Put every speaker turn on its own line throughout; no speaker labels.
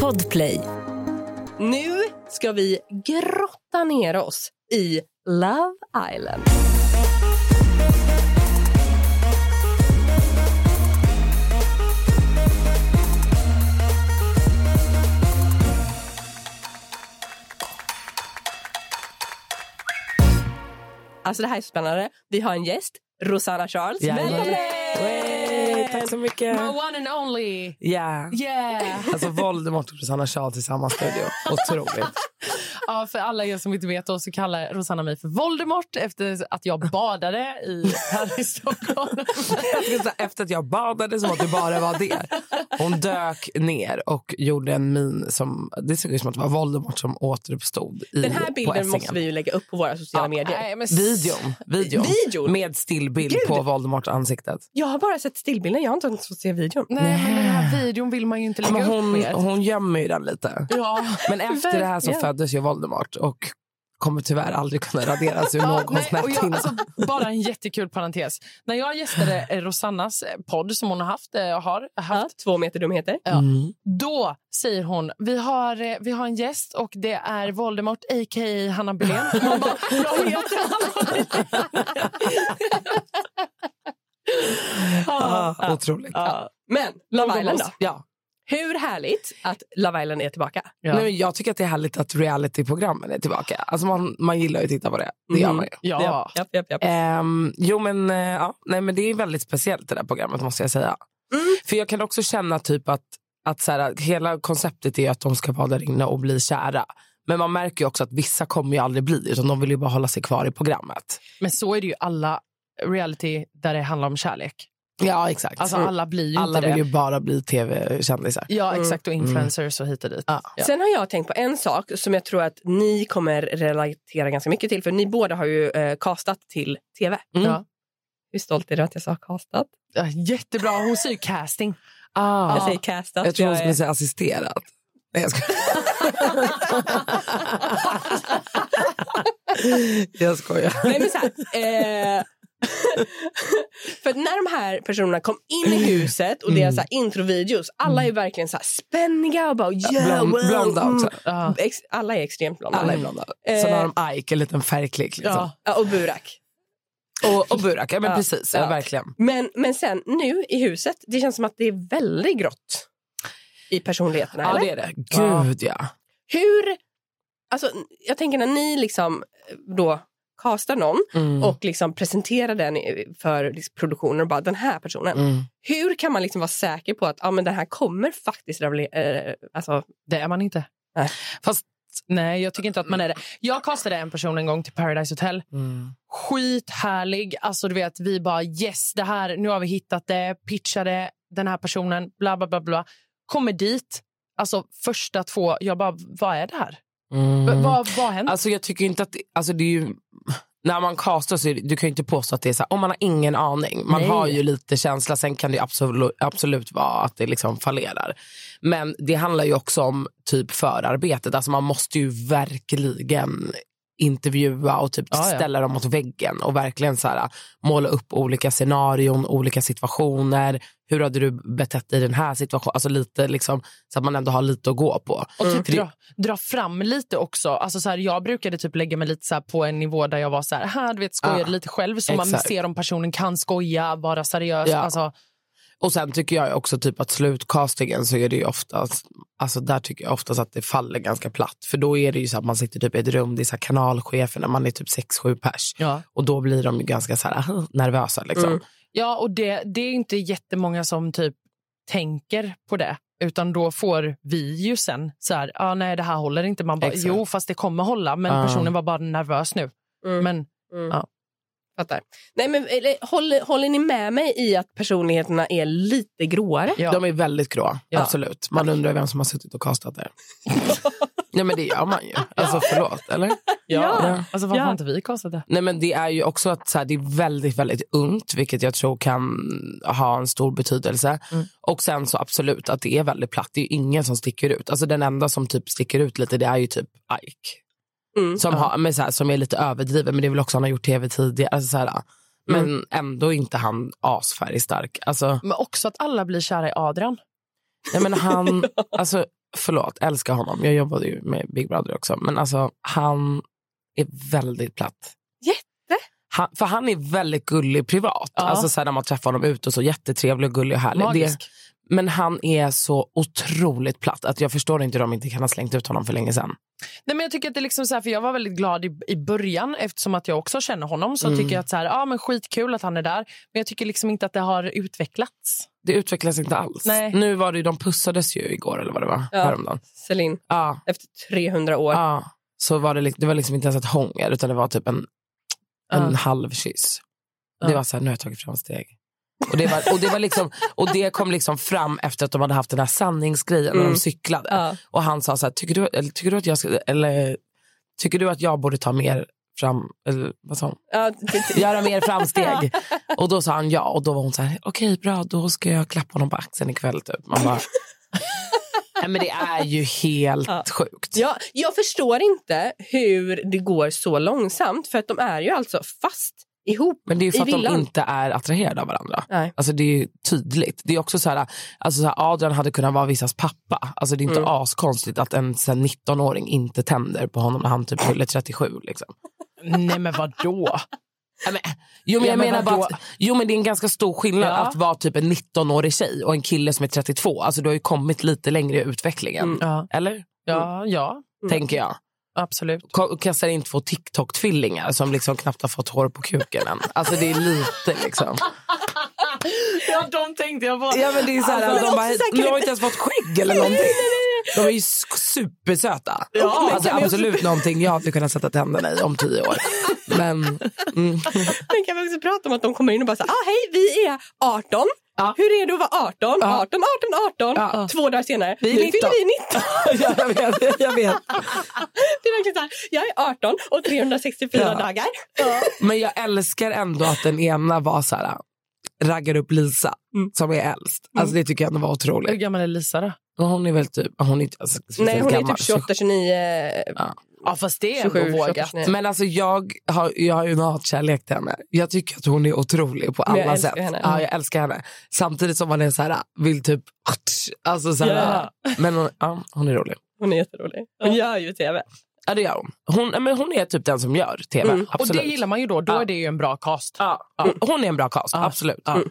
Podplay. Nu ska vi grotta ner oss i Love Island. Alltså det här är spännande. Vi har en gäst, Rosanna Charles.
Jajamän.
Välkommen!
Wey, tack så mycket.
My one and only.
Yeah.
Yeah.
Alltså Voldemort och Rosanna Charles i samma studio. Otroligt.
ja, för alla er som inte vet då, så kallar Rosanna mig för Voldemort efter att jag badade i, här i Stockholm.
Jag skulle säga, Efter att jag badade som att det bara var det. Hon dök ner och gjorde en min som... Det såg ut som att det var Voldemort som återuppstod i,
Den här
på
bilden
Essingen.
måste vi ju lägga upp på våra sociala
Ja,
medier.
men
Videon. videon.
Videon?
Med stillbild
Gud.
på Voldemorts ansiktet.
Jag har bara sett stillbilden, jag har inte ens fått se videon.
Nej, men den här videon vill man ju inte
Men
lägga upp
hon,
med.
hon gömmer ju den lite.
Ja.
Men efter det här så
Verkligen.
föddes ju Voldemort och kommer tyvärr aldrig kunna raderas ur någons
nej, och jag,
näthinna.
alltså, bara en jättekul parentes. När jag gästade eh, Rosannas eh, podd som hon har haft, eh, har haft
Ja, två meter dumheter.
ja.
Mm.
Då säger hon vi har, eh, vi har en gäst och det är Voldemort a.k.a. Hanna Belén. Man bara, jag heter Hanna Belén.
Ah, otroligt.
Ja. Men Love Island då?
Ja.
Hur härligt att Love Island är tillbaka.
Ja.
Nej, men jag tycker att det är härligt att realityprogrammen är tillbaka. Alltså man, man gillar ju att titta på det. Det gör
Mm.
man ju.
Ja.
Japp, japp, japp.
Ehm, jo, men, eh, ja, nej, men det är väldigt speciellt det där programmet måste jag säga.
Mm.
För jag kan också känna typ att, att så här, hela konceptet är ju att de ska vara där inne och bli kära. Men man märker ju också att vissa kommer ju aldrig bli utan de vill ju bara hålla sig kvar i programmet.
Men så är det ju alla reality där det handlar om kärlek.
Ja, exakt.
Alltså
Mm.
alla blir ju
alla
inte
vill
det.
ju bara bli tv-kändisar.
Ja,
Mm.
exakt. Och influencers och hit och dit.
Ja.
Ja.
Sen har jag tänkt på en sak som jag tror att ni kommer relatera ganska mycket till. För ni båda har ju eh, castat till tv.
Mm.
Ja.
Hur stolt är du att jag sa castat?
Ja, jättebra. Hon säger casting.
Ah.
Jag säger castat.
Jag tror hon
jag är-
skulle säga assisterat. Nej, jag skojar. jag skojar.
Nej, men så här, eh, för att när de här personerna kom in i huset och deras så här
Mm.
introvideos, alla är verkligen så här spänniga och bara yeah,
Blond,
well,
Mm. blonda
mm.
också.
Ja.
Ex- alla är extremt blonda.
Alla är blonda.
Eh.
Sen har de Ike, en liten färgklick. Liksom.
Ja.
Ja, och Burak.
Och, och Burak. Ja, men
Ja.
precis. Ja,
Ja.
Verkligen.
Men, men sen nu i huset, det känns som att det är väldigt grått i personligheterna.
Ja,
eller?
det är det. Gud, ja.
Hur, alltså, jag tänker när ni liksom då castar någon
Mm.
och liksom presenterar den i- för liksom produktionen och bara den här personen.
Mm.
Hur kan man liksom vara säker på att ah, men den här kommer faktiskt ravle- eh, alltså,
Det är man inte.
Nej.
Fast nej, jag tycker inte att man är det. Jag kastade en person en gång till Paradise Hotel.
Mm.
Skithärlig. Alltså, du vet, vi bara yes, det här, nu har vi hittat det, pitchade den här personen, bla bla bla. bla. Kommer dit, alltså första två, jag bara, vad är det här?
Mm.
V- Vad, vad händer?
Alltså jag tycker inte att, det- alltså det är ju, när man castar så är det, du kan ju inte påstå att det är så här, om man har ingen aning. Man
Nej.
har ju lite känsla, sen kan det ju absolut, absolut vara att det liksom fallerar. Men det handlar ju också om typ förarbetet, alltså man måste ju verkligen intervjua och typ
Ja, ja.
ställa dem mot väggen och verkligen så här, måla upp olika scenarion, olika situationer. Hur hade du betett dig i den här situationen? Alltså lite liksom, så att man ändå har lite att gå på.
Och typ
För det-
dra, dra fram lite också. Alltså så här, jag brukade typ lägga mig lite så här på en nivå där jag var så här, här du vet, skojade
Ah,
lite själv så man
exakt.
ser om personen kan skoja, vara seriös.
Ja.
Alltså,
Och sen tycker jag också typ att slutcastingen så är det ju oftast, alltså där tycker jag oftast att det faller ganska platt. För då är det ju så att man sitter typ i ett rum, det är så här kanalchefer när man är typ 6-7 pers.
ja.
Och då blir de ju ganska så här nervösa liksom.
Mm.
ja, och det, det är inte jättemånga som typ tänker på det. Utan då får vi ju sen så här, ah, nej det här håller inte. Man bara,
Exakt.
jo fast det kommer hålla men
Ah.
personen var bara nervös nu.
mm,
Men
mm.
ja.
Fattar. Nej, men, eller, håller, håller ni med mig i att personligheterna är lite gråare?
ja.
De är väldigt grå,
Ja.
absolut. Man undrar vem som har suttit och castat där. Nej men det gör man ju. Alltså förlåt, eller?
Ja.
Ja.
Alltså varför
Ja.
har inte vi kastat det?
Nej, men det är ju också att så här, det är väldigt, väldigt ungt, vilket jag tror kan ha en stor betydelse.
Mm.
Och sen så absolut att det är väldigt platt. Det är ju ingen som sticker ut. Alltså den enda som typ sticker ut lite, det är ju typ Ike.
Mm.
Som, har, men så här, som är lite överdriven, men det är väl också han har gjort tv tidigare. Alltså så här, men ändå inte han asfärgstark. Alltså,
Men också att alla blir kära i Adrian.
nej, men han, alltså, förlåt, älskar honom. Jag jobbade ju med Big Brother också. Men alltså, han är väldigt platt.
Jätte.
Han, för han är väldigt gullig privat.
Ja.
Alltså så här, när man träffar honom ute och så jättetrevlig och gullig och härlig. Det,
Magisk.
men han är så otroligt platt att jag förstår inte hur de inte kan ha slängt ut honom för länge sedan.
Nej, men jag tycker att det är liksom så här, för jag var väldigt glad i, i början eftersom att jag också känner honom. Så
Mm.
tycker jag att så här, ja, men skitkul att han är där. Men jag tycker liksom inte att det har utvecklats.
Det utvecklas inte alls.
Nej.
Nu var det ju, de pussades ju igår eller vad det var,
Ja.
häromdagen.
Celine,
Ja,
efter 300 år.
ja. Så var det, li- det var liksom inte ens ett hångel utan det var typ en, en
Ja.
halv kyss.
Ja.
Det var så här, nu har jag tagit framsteg. Och det, var, och, det var liksom, och det kom liksom fram efter att de hade haft den här sanningsgrejen när
Mm.
de cyklade.
Ja.
Och han sa så här, tycker du, eller, tycker du att jag ska, eller tycker du att jag borde ta mer fram, eller vad sa hon?
Ja, t- t-
göra mer framsteg. Och då sa han ja och då var hon så här, okej bra då ska jag klappa honom på axeln ikväll typ. Man bara, Nej, men det är ju helt
Ja.
sjukt.
Ja, jag förstår inte hur det går så långsamt för att de är ju alltså fast ihop.
Men det är ju
I
för att de
villan.
inte är attraherade av varandra.
Nej.
Alltså det är ju tydligt. Det är också så här, alltså så här, Adrian hade kunnat vara vissas pappa. Alltså det är inte
Mm.
askonstigt att en så här 19-åring inte tänder på honom när han typ fyller 37. Liksom.
Nej, men vad då?
Nej, men, jo, men
Ja,
jag
men
menar bara
vadå?
att, jo, men det är en ganska stor skillnad
Ja.
att vara typ en 19-årig tjej och en kille som är 32. Alltså du har ju kommit lite längre i utvecklingen.
Mm.
Ja,
Eller?
ja, ja
Tänker jag.
absolut.
Ko- Kastar in två TikTok-tvillingar som liksom knappt har fått hår på kuken än. Alltså det är lite liksom.
Ja, de tänkte jag bara.
Ja men det är så här,
Alltså,
de
men
bara,
också säkert-
nu har jag inte ens fått skägg eller någonting. De är ju sk- supersöta.
Ja,
alltså,
men kan vi-
absolut någonting jag hade kunnat sätta tänderna i om tio år. Men mm.
Men kan vi också prata om att de kommer in och bara så här, ah, hej vi är 18.
Ja.
Hur är det att vara 18?
Ja.
18, 18, 18.
Ja.
Två dagar senare,
Vi är
nu
19.
fyller vi 19.
Ja, jag vet, jag vet.
Det är verkligen så här, jag är 18 och 364
Ja.
dagar.
Men jag älskar ändå att den ena var så här, raggar upp Lisa
Mm.
som är äldst. Alltså det tycker jag ändå var
Hur
otroligt.
gammal är Lisa då?
Och hon är väl typ, hon är inte alltså,
Nej,
speciellt
hon är
gammal.
typ eh, 28, 29.
Ja, fast det är
27,
ändå
28,
vågat.
29.
Men alltså jag har, jag har ju en hatkärlek till henne. Jag tycker att hon är otrolig på
Men jag
alla
älskar
sätt.
henne.
Ja, jag älskar henne. Samtidigt som man är så här, vill typ... Alltså så här,
Ja.
Men hon, ja, hon är rolig.
Hon är jätterolig. Hon gör ju tv.
Ja, det gör hon. Hon, ja, men hon är typ den som gör tv.
Mm.
Och
Absolut.
det gillar man ju då. Då
Ja.
är det ju en bra cast.
ja, ja. Hon är en bra cast,
Ja.
absolut. Ja.
Mm.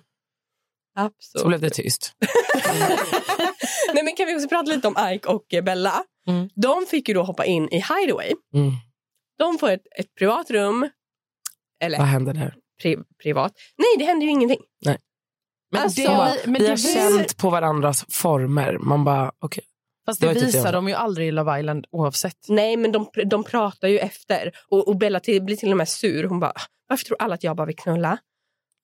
Så
Absolut.
blev det tyst.
Nej, men kan vi också prata lite om Ike och eh, Bella?
Mm.
De fick ju då hoppa in i Hideaway.
Mm.
De får ett, ett privat rum. Eller
Vad händer där?
pri- privat. Nej, det händer ju ingenting.
Men
Alltså,
det, var-
men
vi
det
har
blir-
känt på varandras former. Man bara, okej.
Fast
Det
det,
vet inte
visar
jag.
de ju aldrig i Love Island oavsett.
Nej, men de, pr- de pratar ju efter. Och, och Bella till, blir till och med sur. Hon bara, "Ah, varför tror alla att jag bara vill knulla?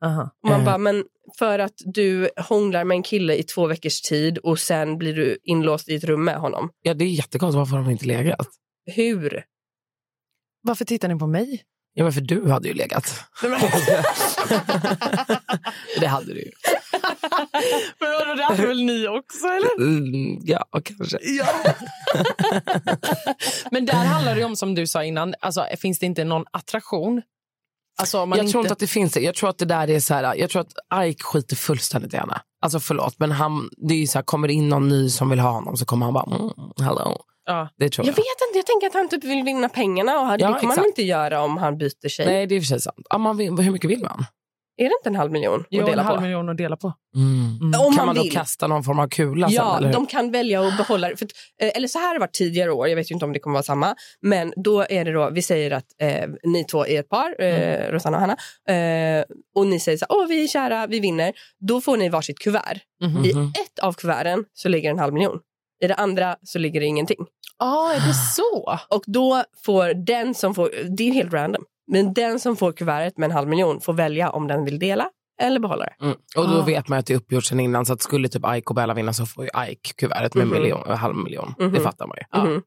Aha.
Och man
Mm.
bara, men för att du hånglar med en kille i två veckors tid och sen blir du inlåst i ett rum med honom.
Ja, det är jättekonstigt, varför har de inte legat?
Hur?
Varför tittar ni på mig?
Ja, men för du hade ju legat. det hade du ju.
Men vadå, det hade väl ni också? Eller?
Mm, ja, kanske.
Men där handlar det ju om, som du sa innan, alltså, finns det inte någon attraktion? Alltså, om man
jag
inte...
tror inte att det finns det. Jag tror att det där är så här, jag tror att Ike skiter fullständigt i henne. Alltså förlåt, men han, det är ju så här, kommer det in någon ny som vill ha honom så kommer han bara, mm, hello.
Ja.
Det tror
Jag
jag.
vet inte, jag tänker att han typ vill vinna pengarna och han- det
Ja,
kommer han
exakt.
väl inte göra om han byter sig.
Nej, det är i och för sig sant. Ja, man vill, hur mycket vill man?
Är det inte en halv miljon
Jo,
att dela
en halv
på?
miljon att dela på.
Mm.
Mm.
Om
Kan
man
man då
vill.
kasta någon form av kula sen?
Ja,
Eller hur?
de kan välja att behålla det. För, att, eh, eller så här har det varit tidigare år, jag vet ju inte om det kommer vara samma. Men då är det då, vi säger att eh, ni två är ett par, eh,
Mm.
Rosanna och Hanna. Eh, och ni säger så här, åh vi är kära, vi vinner. Då får ni varsitt kuvert.
Mhm.
I
Mhm.
ett av kuverten så ligger en halv miljon. I det andra så ligger det ingenting.
Ja, är det så?
Och då får den som får, det är helt random, men den som får kuvertet med en halv miljon får välja om den vill dela eller behålla det.
Mm. Och då
Ah.
vet man ju att det är uppgjort sen innan så att skulle typ Ike och Bella vinna så får ju Ike kuvertet med en
Mhm.
miljon, en halv miljon. Det
Mhm.
fattar man ju.
Mhm.
För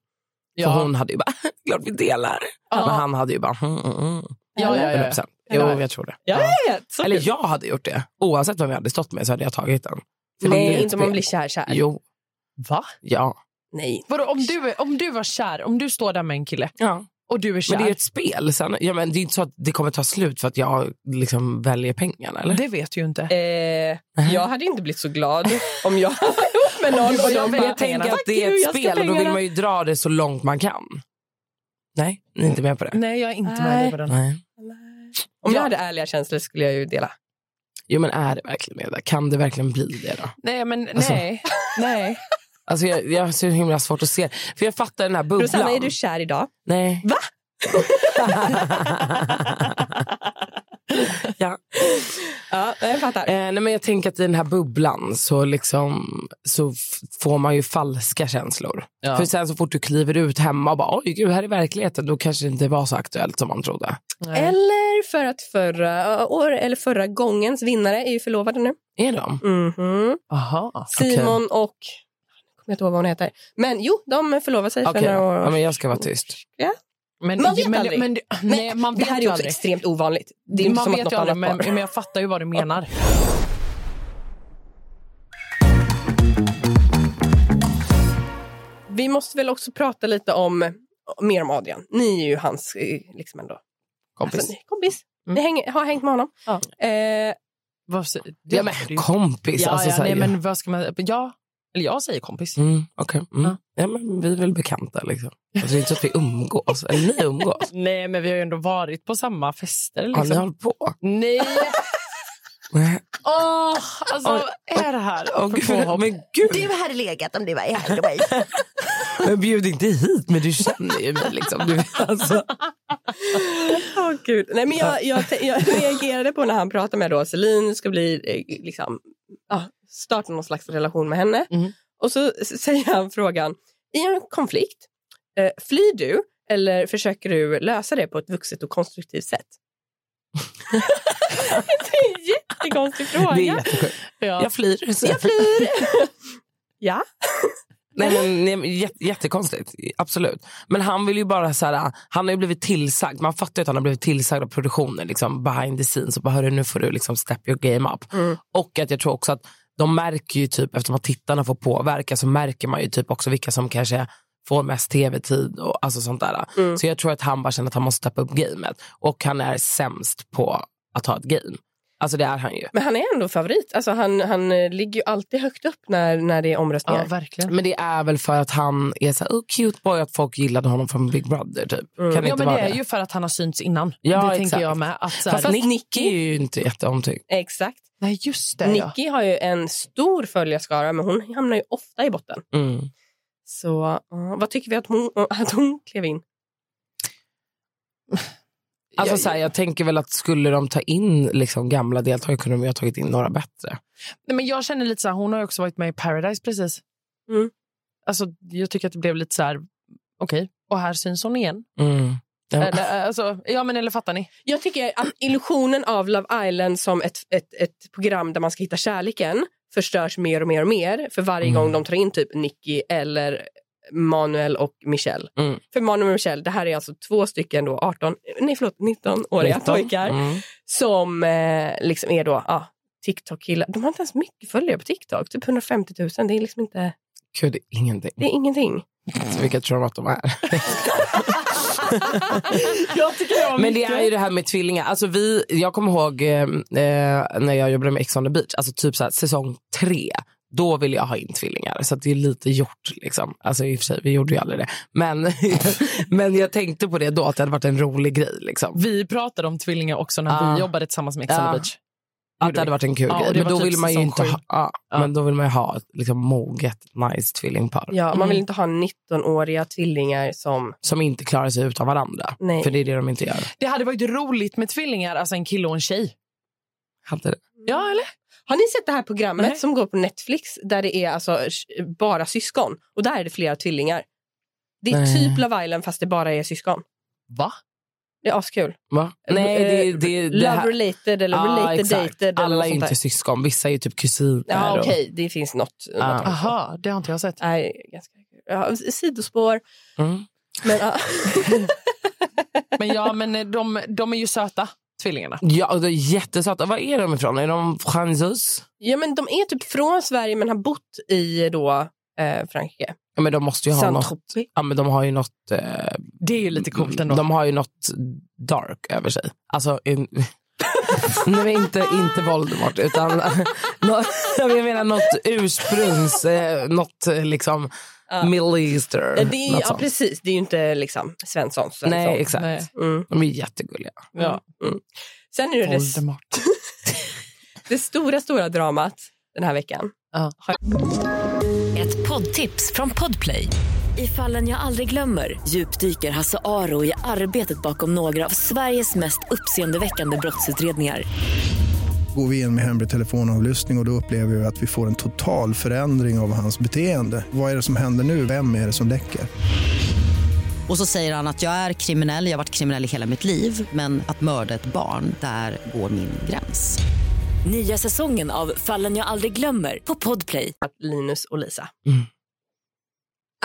Ja.
hon hade ju bara, klart vi delar.
Ja.
Men han hade ju bara, mm, mm, mm.
Ja, ja, ja,
100%.
ja.
Jo,
Eller?
jag tror det.
Ja, ja, ja, så
Eller
kul.
jag hade gjort det. Oavsett vem jag hade stått med så hade jag tagit den. För det är
Nej,
ett
inte om man
spel.
blir kär kär.
Jo,
Va?
ja.
Nej.
Vadå, om, du, är- om du var kär, om du står där med en kille
ja.
och du är kär.
Men det är ju ett spel. Sen, ja, men det är inte så att det kommer ta slut för att jag liksom väljer pengarna. Eller?
det vet du ju inte.
Eh, jag hade inte blivit så glad om jag med någon och
Jag,
de bara,
tänker att
"Fuck
det är
you,
ett
jag ska
spel och då vill
pengarna."
man ju dra det så långt man kan. Nej, ni är inte med på
Mm.
det?
Nej, jag är inte
Nej.
med dig på den.
Nej.
Om jag
Ja.
hade ärliga känslor skulle jag ju dela.
Jo men är det verkligen det? där? Kan det verkligen bli det då?
Nej, men nej.
Alltså-
nej.
Alltså jag, jag har så himla svårt att se. För jag fattar den här bubblan.
Rosanna, är du kär idag?
Nej.
Va?
ja.
Ja, jag fattar.
eh, nej, men jag tänker att i den här bubblan så, liksom, så f- får man ju falska känslor.
Ja.
För sen så fort du kliver ut hemma och bara oj gud, här är verkligheten. Då kanske det inte var så aktuellt som man trodde.
Eh.
nej.
Eller för att förra, eh, år, eller förra gångens vinnare är ju förlovade nu.
Är de?
Mhm.
Aha.
Simon och... Jag kommer inte ihåg vad hon heter. Men jo, de förlovade sig
Okej,
för några år
ja, men jag ska vara tyst.
Men,
Man vet
men,
aldrig.
Men, nej, man
Det
vet
här är
ju
ju också
aldrig.
extremt ovanligt. Det är inte
man
som att
vet
något
ju aldrig,
annat
men,
par...
men jag fattar ju vad du menar.
Vi måste väl också prata lite om, mer om Adrian. Ni är ju hans eh, liksom ändå,
Kompis.
Alltså, ni, kompis.
Mm.
Ni hänger, har hängt med honom.
Ja.
Eh,
Vad sä- det
ja,
har du
men,
ju.
kompis,
ja,
alltså
ja,
så här
nej,
ju.
men vad ska man... Ja, eller jag säger kompis.
Mm, okej. mm.
Ja.
ja. men vi är väl bekanta liksom. Alltså, det är inte så att vi umgås, eller ni umgås.
Nej, men vi har ju ändå varit på samma fester.
Har ni
Liksom.
hållit på?
Nej!
Nej.
Åh, alltså,
Oj.
vad är det här?
Åh,
för
gud,
påhopp?
men gud,
Du hade legat om du var i Hideaway.
men bjud inte hit, men du känner ju mig liksom. Du, vet, alltså.
Åh, gud. Nej, men jag, jag, jag reagerade på när han pratade med då Celine, ska bli, eh, liksom, ja, starta någon slags relation med henne.
Mm.
Och så s- säger han frågan, i en konflikt, eh, flyr du eller försöker du lösa det på ett vuxet och konstruktivt sätt? det är en jättekonstig fråga.
Det är jättesjukt.
Ja.
Jag flyr. Så.
Jag flyr.
Nej, men, nej, men, jät- jättekonstigt, absolut. Men han vill ju bara så här, han har ju blivit tillsagd, man fattar ju att han har blivit tillsagd av produktionen liksom, behind the scenes. Och bara, hörru, nu får du liksom step your game up.
Mm.
Och att jag tror också att de märker ju typ, eftersom att tittarna får påverka så märker man ju typ också vilka som kanske får mest tv-tid och alltså sånt där.
Mm.
Så jag tror att han bara känner att han måste steppa upp gamet. Och han är sämst på att ha ett game. Alltså det är han ju.
Men han är ändå favorit. Alltså, han, han eh, ligger ju alltid högt upp när, när det är omröstningar.
ja, verkligen.
Men det är väl för att han är så här, oh, cute boy, att folk gillade honom från Big Brother typ.
Mm.
Kan det
Ja,
inte
men det
vara
är ju för att han har synts innan.
Ja,
det tänker
exakt.
jag med. Att, så här,
Fast Nicky är ju inte jätteomtyckt.
Exakt.
nej, just det. Ja.
Nicky har ju en stor följarskara, men hon hamnar ju ofta i botten.
Mm.
Så eh, vad tycker vi att hon, att hon klev in?
Alltså,
Jag-
så här, jag tänker väl att skulle de ta in liksom, gamla deltagare kunde de ju ha tagit in några bättre.
Nej, men jag känner lite så här, hon har ju också varit med i Paradise precis.
Mm.
Alltså, jag tycker att det blev lite så här, okej, och här syns hon igen.
Mm. Ja, men-
Eller, alltså, ja, men eller fattar ni?
Jag tycker att illusionen av Love Island som ett, ett, ett program där man ska hitta kärleken förstörs mer och mer och mer för varje
Mm.
gång de tar in typ Nicky eller Manuel och Michelle.
Mm.
För Manuel och Michelle, det här är alltså två stycken då 18, nej förlåt 19-åriga
Nitton.
pojkar
Mm.
som eh, liksom är då ah, TikTok-killar. De har inte ens mycket följare på TikTok, typ 150 000. Det är liksom inte,
Gud, det är ingenting.
det är ingenting.
Så vilka tror de att de är?
jag tycker jag
Men det är ju det här med tvillingar. Alltså vi, jag kommer ihåg eh, eh, när jag jobbade med Ex on the beach, alltså typ så här, säsong tre, då ville jag ha in tvillingar. Så att det är lite gjort. Liksom. Alltså i och för sig, vi gjorde ju aldrig det. Men, men jag tänkte på det då, att det hade varit en rolig grej. Liksom.
Vi pratade om tvillingar också när
Ja.
vi jobbade tillsammans med Ex on
Ja.
the beach.
Att det hade varit en kul
Ja, och
grej.
det
Men
var
då,
typ
vill man ju
säsong
inte
sju.
ha, ja,
Ja.
men då vill man ju ha ett liksom, moget, nice tvillingpar.
Ja, Man
Mm.
vill inte ha 19-åriga tvillingar som...
Som inte klarar sig utan varandra.
Nej.
För det är det de inte gör.
Det hade varit roligt med tvillingar, alltså en kille och en tjej.
Hade det.
Ja, eller?
Har ni sett det här programmet
Nej.
som går på Netflix där det är alltså eh, bara syskon och där är det flera tvillingar? Det är
Nej.
typ Love Island fast det bara är syskon.
Va?
Det är askul.
Va?
Eh,
Nej, det, det, det
Love
här.
related eller
Ah,
related
exakt.
dated. eller
Alla
något
är ju
sånt där.
inte syskon, vissa är ju typ kusiner.
Ja,
och-
okej. Det finns något.
Ah.
något
Aha, det har inte jag sett.
Nej, ganska, ja, sidospår.
Mm.
Men, ja.
Men ja, men eh, de, de är ju söta, tvillingarna.
Ja, och det är jättesöta. Var är de ifrån? Är de fransos?
ja, men de är typ från Sverige men har bott i då, eh, Frankrike.
Ja, men de måste ju ha något.
Saint-Tropez.
Ja, men de har ju något. Eh, Mm.
Det är ju lite coolt ändå.
De har ju något dark över sig. Alltså, en, Nej, men inte, inte Voldemort, utan nå- jag menar något ursprungs... eh, Något eh, liksom Middle Easter.
Det är,
något
ja,
sånt.
precis. Det är ju inte liksom Svensson. Svensson.
Nej, exakt.
Nej.
Mm.
De är ju jättegulliga.
Ja.
Sen är det det
Voldemort.
Det stora, stora dramat den här veckan.
Ett poddtips från Podplay. I fallen jag aldrig glömmer djupdyker Hasse Aro i arbetet bakom några av Sveriges mest uppseendeväckande brottsutredningar.
Går vi in med hemlig telefonavlyssning och, och då upplever vi att vi får en total förändring av hans beteende. Vad är det som händer nu? Vem är det som läcker?
Och så säger han att jag är kriminell, jag har varit kriminell i hela mitt liv men att mörda ett barn, där går min gräns.
Nya säsongen av Fallen jag aldrig glömmer på Podplay.
Att Linus och Lisa.
Mm.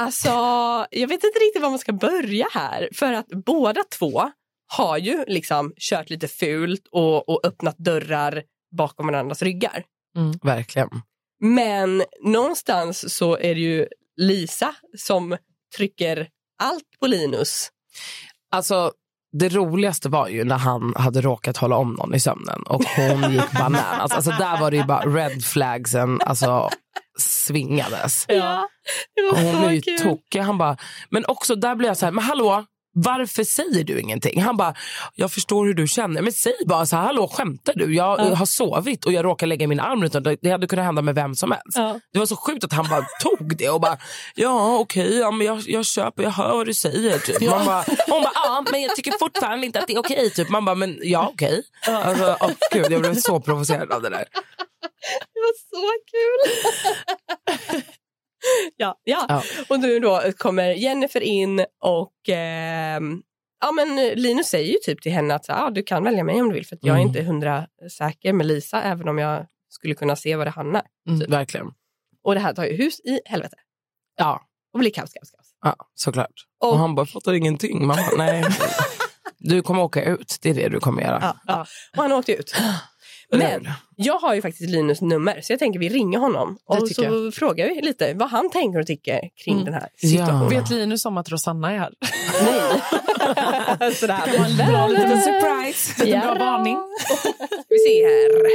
Alltså, jag vet inte riktigt var man ska börja här. För att båda två har ju liksom kört lite fult och, och öppnat dörrar bakom varandras ryggar.
Verkligen.
Men någonstans så är det ju Lisa som trycker allt på Linus.
Alltså, det roligaste var ju när han hade råkat hålla om någon i sömnen och hon gick bananas. Alltså, där var det ju bara red flagsen alltså, svingades.
Ja, det var
Hon
så
är ju
kul.
tokig. Han bara, men också där blir jag så här, men hallå, varför säger du ingenting? Han bara, jag förstår hur du känner. Men säg bara så här, hallå skämtar du? Jag eh, har sovit och jag råkar lägga min arm runt honom. Det hade kunnat hända med vem som helst.
Ja.
Det var så sjukt att han bara tog det och bara, ja okej, ja, men jag, jag köper, jag hör vad du säger. Typ. Man bara, hon bara, ja men jag tycker fortfarande inte att det är okej. Typ. Man bara, men ja okej. Alltså, åh, gud, jag blev så provocerad av det där.
Det var så kul! ja, ja.
Ja.
och nu då kommer Jennifer in och ehm, ja, men Linus säger ju typ till henne att ah, du kan välja mig om du vill för att jag är
Mm.
inte hundra säker med Lisa även om jag skulle kunna se vad det hamnar.
Mm, verkligen.
Och det här tar ju hus i helvete
Ja,
och blir kaos, kaos, kaos.
ja såklart.
Och,
Och han bara, jag fattar ingenting. Man bara, nej. Du kommer åka ut, det är det du kommer göra.
ja, ja. och han åkte ut.
Eller
Men
hur?
jag har ju faktiskt Linus nummer så jag tänker vi ringer honom
Det
och
tycker
så frågar vi lite vad han tänker och tycker kring
Mm.
den här
Ja.
situationen.
Vet Linus om att Rosanna är här?
Nej. Sådär.
Bra liten surprise. Liten bra
Ja.
varning.
Ska vi se här.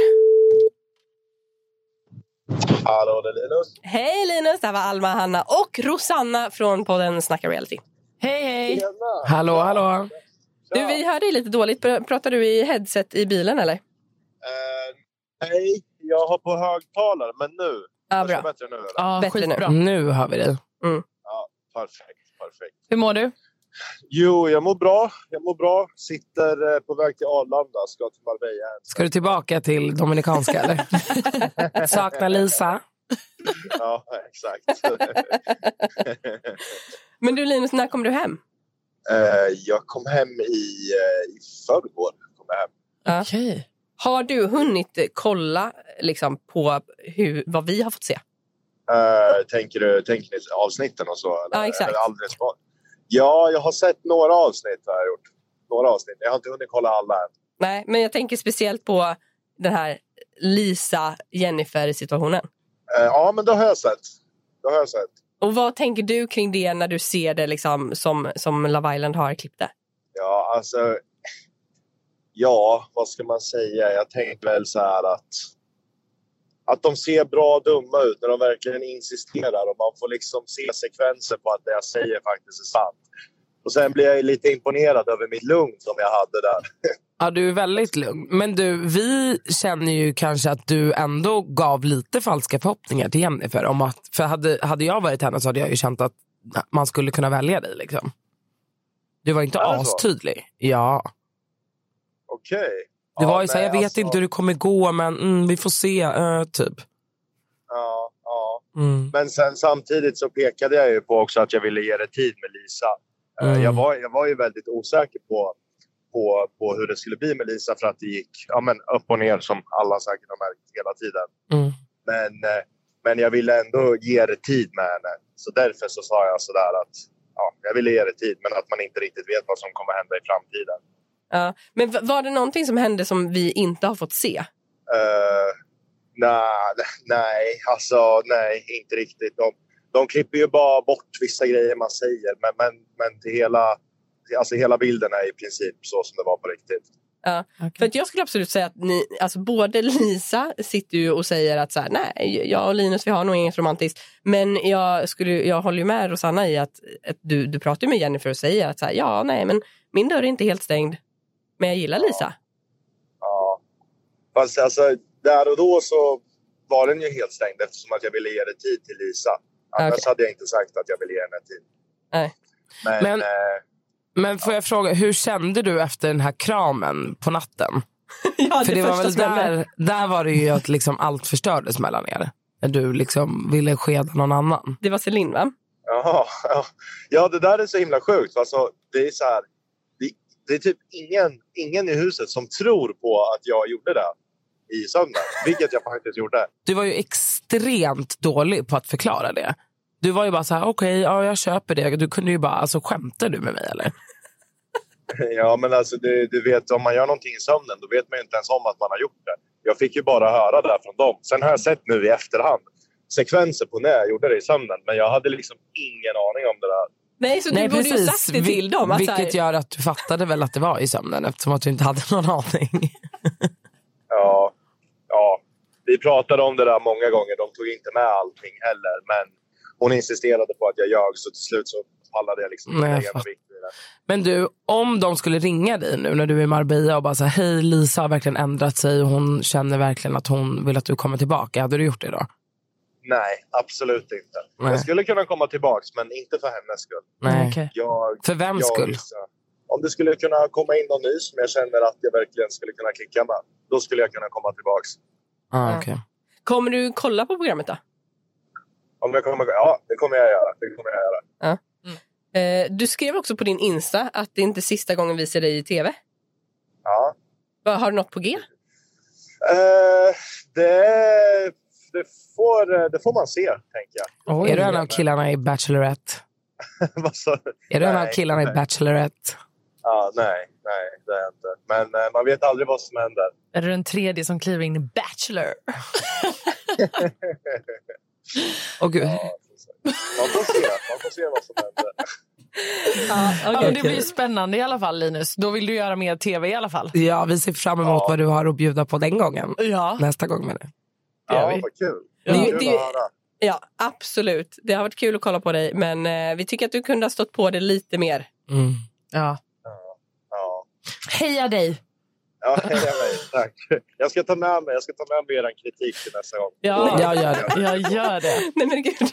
Hallå, det är Linus.
Hej Linus, det här var Alma, Hanna och Rosanna från podden Snacka reality.
Hej, hej.
Tjena!
Hallå, hallå.
Du, vi hör dig lite dåligt. Pr- Pratar du i headset i bilen eller?
Eh, nej, jag har på högtalare, men nu.
Ja,
Hörs
bra.
jag bättre nu? eller?
Ja,
Bättre nu.
skitbra.
Nu har vi dig.
Perfekt, perfekt.
Hur mår du?
Jo, jag mår bra. Jag mår bra. Sitter eh, på väg till Arlanda, ska till Marbella.
Ska du tillbaka till Dominikanska eller? Saknar Lisa?
Ja, exakt.
Men du Linus, när kommer du hem?
Eh, jag kom hem i, eh, i förrgår. Kom jag hem.
Okej.
Har du hunnit eh, kolla liksom, på hur, vad vi har fått se?
Eh, tänker, du, tänker ni avsnitten och så? Eller?
Ja, exakt.
Eller alldeles kvar? Ja, jag har sett några avsnitt. Har jag, gjort. Några avsnitt. jag har inte hunnit kolla alla än.
Nej, men jag tänker speciellt på den här Lisa-Jennifer-situationen.
Eh, ja, men det har jag sett. Det har jag sett.
Och vad tänker du kring det när du ser det liksom, som, som Love Island har klippt det?
Ja, alltså... Ja, vad ska man säga? Jag tänkte väl så här att... Att de ser bra dumma ut när de verkligen insisterar och man får liksom se sekvenser på att det jag säger faktiskt är sant. Och sen blir jag ju lite imponerad över mitt lugn som jag hade där.
Ja, du är väldigt lugn. Men du, vi känner ju kanske att du ändå gav lite falska förhoppningar till Jennifer. Om att, för hade, hade jag varit henne så hade jag ju känt att man skulle kunna välja dig. Liksom. Du var inte
Är det så?
astydlig. Ja.
Okej.
Det
Ja,
var ju så här,
nej,
jag vet
alltså,
inte hur det kommer gå men mm, vi får se, eh, typ.
Ja, ja.
Mm.
Men sen samtidigt så pekade jag ju på också att jag ville ge det tid med Lisa. Eh,
Mm.
Jag, var, jag var ju väldigt osäker på, på, på hur det skulle bli med Lisa för att det gick ja, men upp och ner som alla säkert har märkt hela tiden.
Mm.
Men, eh, men jag ville ändå ge det tid med henne. Så därför så sa jag sådär att ja, jag ville ge det tid men att man inte riktigt vet vad som kommer hända i framtiden.
Ja. Men v- var det någonting som hände som vi inte har fått se?
Eh, nej, nej, alltså nej, inte riktigt. De, de klipper ju bara bort vissa grejer man säger, men, men, men till hela, alltså hela bilden är i princip så som det var på riktigt.
För att jag skulle absolut säga att ni, alltså både Lisa sitter ju och säger att så här, nej, jag och Linus vi har nog inget romantiskt. Men jag, skulle, jag håller ju med Rosanna i att, att du, du pratar ju med Jennifer och säger att så här, ja, nej, men min dörr är inte helt stängd. Men jag gillar Lisa.
Ja. Fast alltså, där och då så var den ju helt stängd eftersom att jag ville ge det tid till Lisa. Annars
Okej.
hade jag inte sagt att jag ville ge henne tid.
Nej.
Men,
Men-
eh,
Men får jag fråga, hur kände du efter den här kramen på natten?
Ja,
För det var
första
väl
som hände.
där, där var det ju att liksom allt förstördes mellan er. När du liksom ville skeda någon annan.
det var Celine, va?
Jaha. ja. Ja, det där är så himla sjukt. Alltså, det är så här, det, det är typ ingen, ingen i huset som tror på att jag gjorde det i söndags, vilket jag faktiskt gjorde.
Du var ju extremt dålig på att förklara det. Du var ju bara så här, okej, ja, jag köper det. Du kunde ju bara, alltså skämtar du med mig eller?
Ja, men alltså, du, du vet, om man gör någonting i sömnen då vet man ju inte ens om att man har gjort det. Jag fick ju bara höra det här från dem. Sen har jag sett nu i efterhand sekvenser på när jag gjorde det i sömnen. Men jag hade liksom ingen aning om det där.
Nej, så du borde ju sagt det
Vi-
till dem. Att så här,
vilket gör att du fattade väl att det var i sömnen eftersom att du inte hade någon aning.
Ja, ja. Vi pratade om det där många gånger. De tog inte med allting heller. Men hon insisterade på att jag ljög så till slut så pallade jag liksom
Nej,
inte
jag
lägga någon
fattar.
vikt vid det.
Men du, om de skulle ringa dig nu när du är i Marbella och bara säga hej Lisa har verkligen ändrat sig och hon känner verkligen att hon vill att du kommer tillbaka. Hade du gjort det då?
Nej, absolut inte.
Nej.
Jag skulle kunna komma tillbaks, men inte för hennes skull.
Nej.
Okej.
Jag
För vems
jag
skull?
gissar. Om det skulle kunna komma in någon ny som jag känner att jag verkligen skulle kunna klicka med, då skulle jag kunna komma tillbaks.
Ah, okej.
Kommer du kolla på programmet då?
Om jag kommer, ja, det kommer jag göra. Det kommer jag göra.
Eh, du skrev också på din Insta att det inte är sista gången vi ser dig i tv.
Ja.
Vad, Har du något på G?
Eh, det, det, får, eh, det får man se, tänker jag.
Är du en av killarna i Bachelorette?
Vad sa du?
Är du en av
Nej,
killarna i
nej.
Bachelorette?
ja, nej, nej, det är jag inte. Men eh, man vet aldrig vad som händer.
Är du den tredje som kliver in i Bachelor?
Åh gud.
Ja, som sagt. man får se. Man får se vad som händer.
Ja, men det blir ju spännande i alla fall, Linus. Då vill du göra mer tv i alla fall.
Ja, vi ser fram emot
Ja.
vad du har att bjuda på den gången.
Ja.
Nästa gång med det.
Ja, vad kul.
Ja.
Kul
Det-
att
det-
höra.
Ja, absolut. Det har varit kul att kolla på dig, men eh, vi tycker att du kunde ha stått på det lite mer.
Mm.
ja.
Ja.
Heja dig!
Ja, jag vet. Tack. Jag ska ta med mig, jag ska ta med mig er kritik till nästa gång.
Ja.
Jag gör det.
Jag gör det.
Nej, men gud.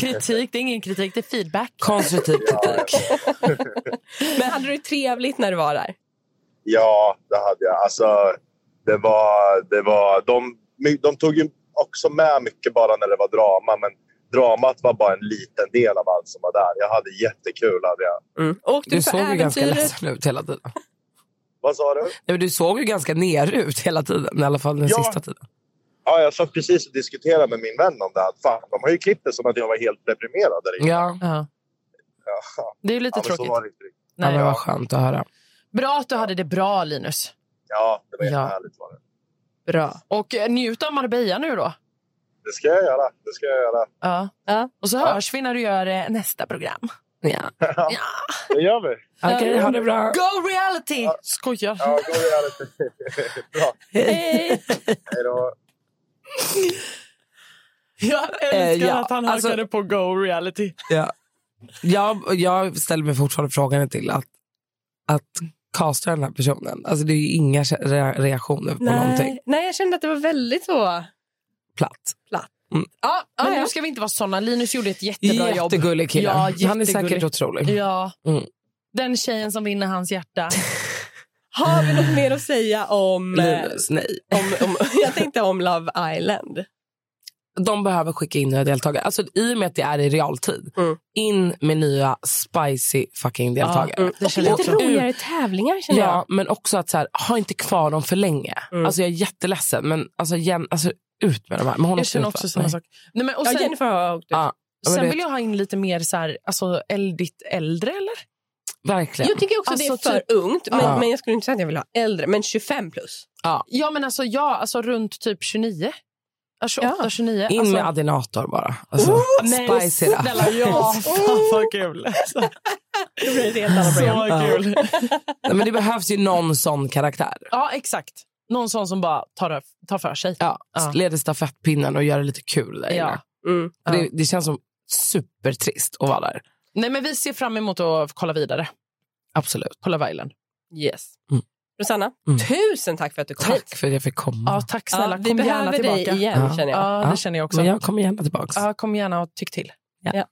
Kritik, det är ingen kritik, det är feedback.
Konstruktiv
Ja,
kritik.
Men hade du trevligt när du var där?
Ja, det hade jag. Alltså, det var, det var, de, de tog ju också med mycket bara när det var drama, men dramat var bara en liten del av allt som var där. Jag hade jättekul. Hade jag.
Åkte
Mm.
du
Du
på
såg ju ganska
äventyret?
ledsen ut hela tiden. Nej,
Vad sa du?
men du såg ju ganska ner ut hela tiden. I alla fall den
Ja.
sista tiden.
Ja, jag satt precis och diskuterade med min vän om det. här. Fan, de har ju klippt det som att jag var helt deprimerad. Där. inne.
Ja,
Ja.
Ja,
Det är ju lite
men så
tråkigt.
var det inte riktigt.
ja
Nej.
men vad skönt att höra.
Bra att du hade det bra, Linus.
Ja, det var
Ja.
jättehärligt. Var det.
Bra.
Och eh, njut av Marbella nu då.
det ska jag göra. Det ska jag göra.
Ja.
Ja.
Och så
Ja.
hörs vi när du gör eh, nästa program.
Ja.
Det gör vi.
Okej, ha det bra.
Go reality! Skojar.
Ja, gå och gör det. Bra.
Hej!
Hej då.
Jag
Eh, ja, alltså-
på go reality.
Ja. Jag, jag ställer mig fortfarande frågan till att, att casta den här personen. Alltså det är ju inga kä- re- reaktioner på någonting.
Nej, nej, jag kände att det var väldigt så...
Platt.
Ja, men
Ja, ja.
nu ska vi inte vara sådana. Linus gjorde ett jättebra jobb.
Jättegullig kille.
Ja,
Han är
jättegullig.
säkert otrolig.
Ja.
Mm.
Den tjejen som vinner hans hjärta.
Har vi något mer att säga om... eh,
Linus, nej.
om, om jag tänkte om Love Island.
De behöver skicka in nya deltagare. Alltså, I och med att det är i realtid,
Mm.
in med nya spicy fucking deltagare.
Mm.
Det känner jag
Och
Lite
också.
roligare tävlingar känner jag.
Ja, men också att så här, ha inte kvar dem för länge.
Mm.
Alltså, jag är jätteledsen, men alltså, igen, alltså, ut med de här. Men hon
Jag
åkte
känner
ut, va?
också samma
Nej.
sak. Nej, men, och
Ja,
sen,
Jennifer har åkt ut.
Ja, men du
sen
vet-
vill jag ha in lite mer så här, alltså, eldigt äldre, eller?
Verkligen.
Jag tycker också
Alltså,
det är för ungt, men,
Ja.
men jag skulle inte säga att jag vill ha äldre. Men 25 plus.
Ja, men alltså, ja, alltså runt typ 29. Ja, 28,
Ja.
29.
In
alltså,
med adinator bara. Alltså,
Nej,
spicy it up.
snälla, ja, fan vad kul. Alltså.
Då blir det ett helt annat program.
Ja. Nej, men det behövs ju någon sån karaktär.
Ja, exakt. Någon sån som bara tar, tar för sig.
Ja,
Ja.
Leder stafettpinnen och gör det lite kul där
Ja.
inne.
Mm.
För Det, det känns som supertrist att vara där.
Nej, men vi ser fram emot att kolla vidare
Absolut.
på Love Island.
Yes.
Mm.
Rosanna,
Mm.
tusen tack för att du kom hit.
Tack för att jag fick komma.
Ja, tack snälla.
vi
kom gärna
behöver
tillbaka.
dig igen,
Ja.
känner jag.
Ja,
Ja.
det känner jag också.
Men jag kommer gärna tillbaka.
Ja, kom gärna och tyck till.
Ja.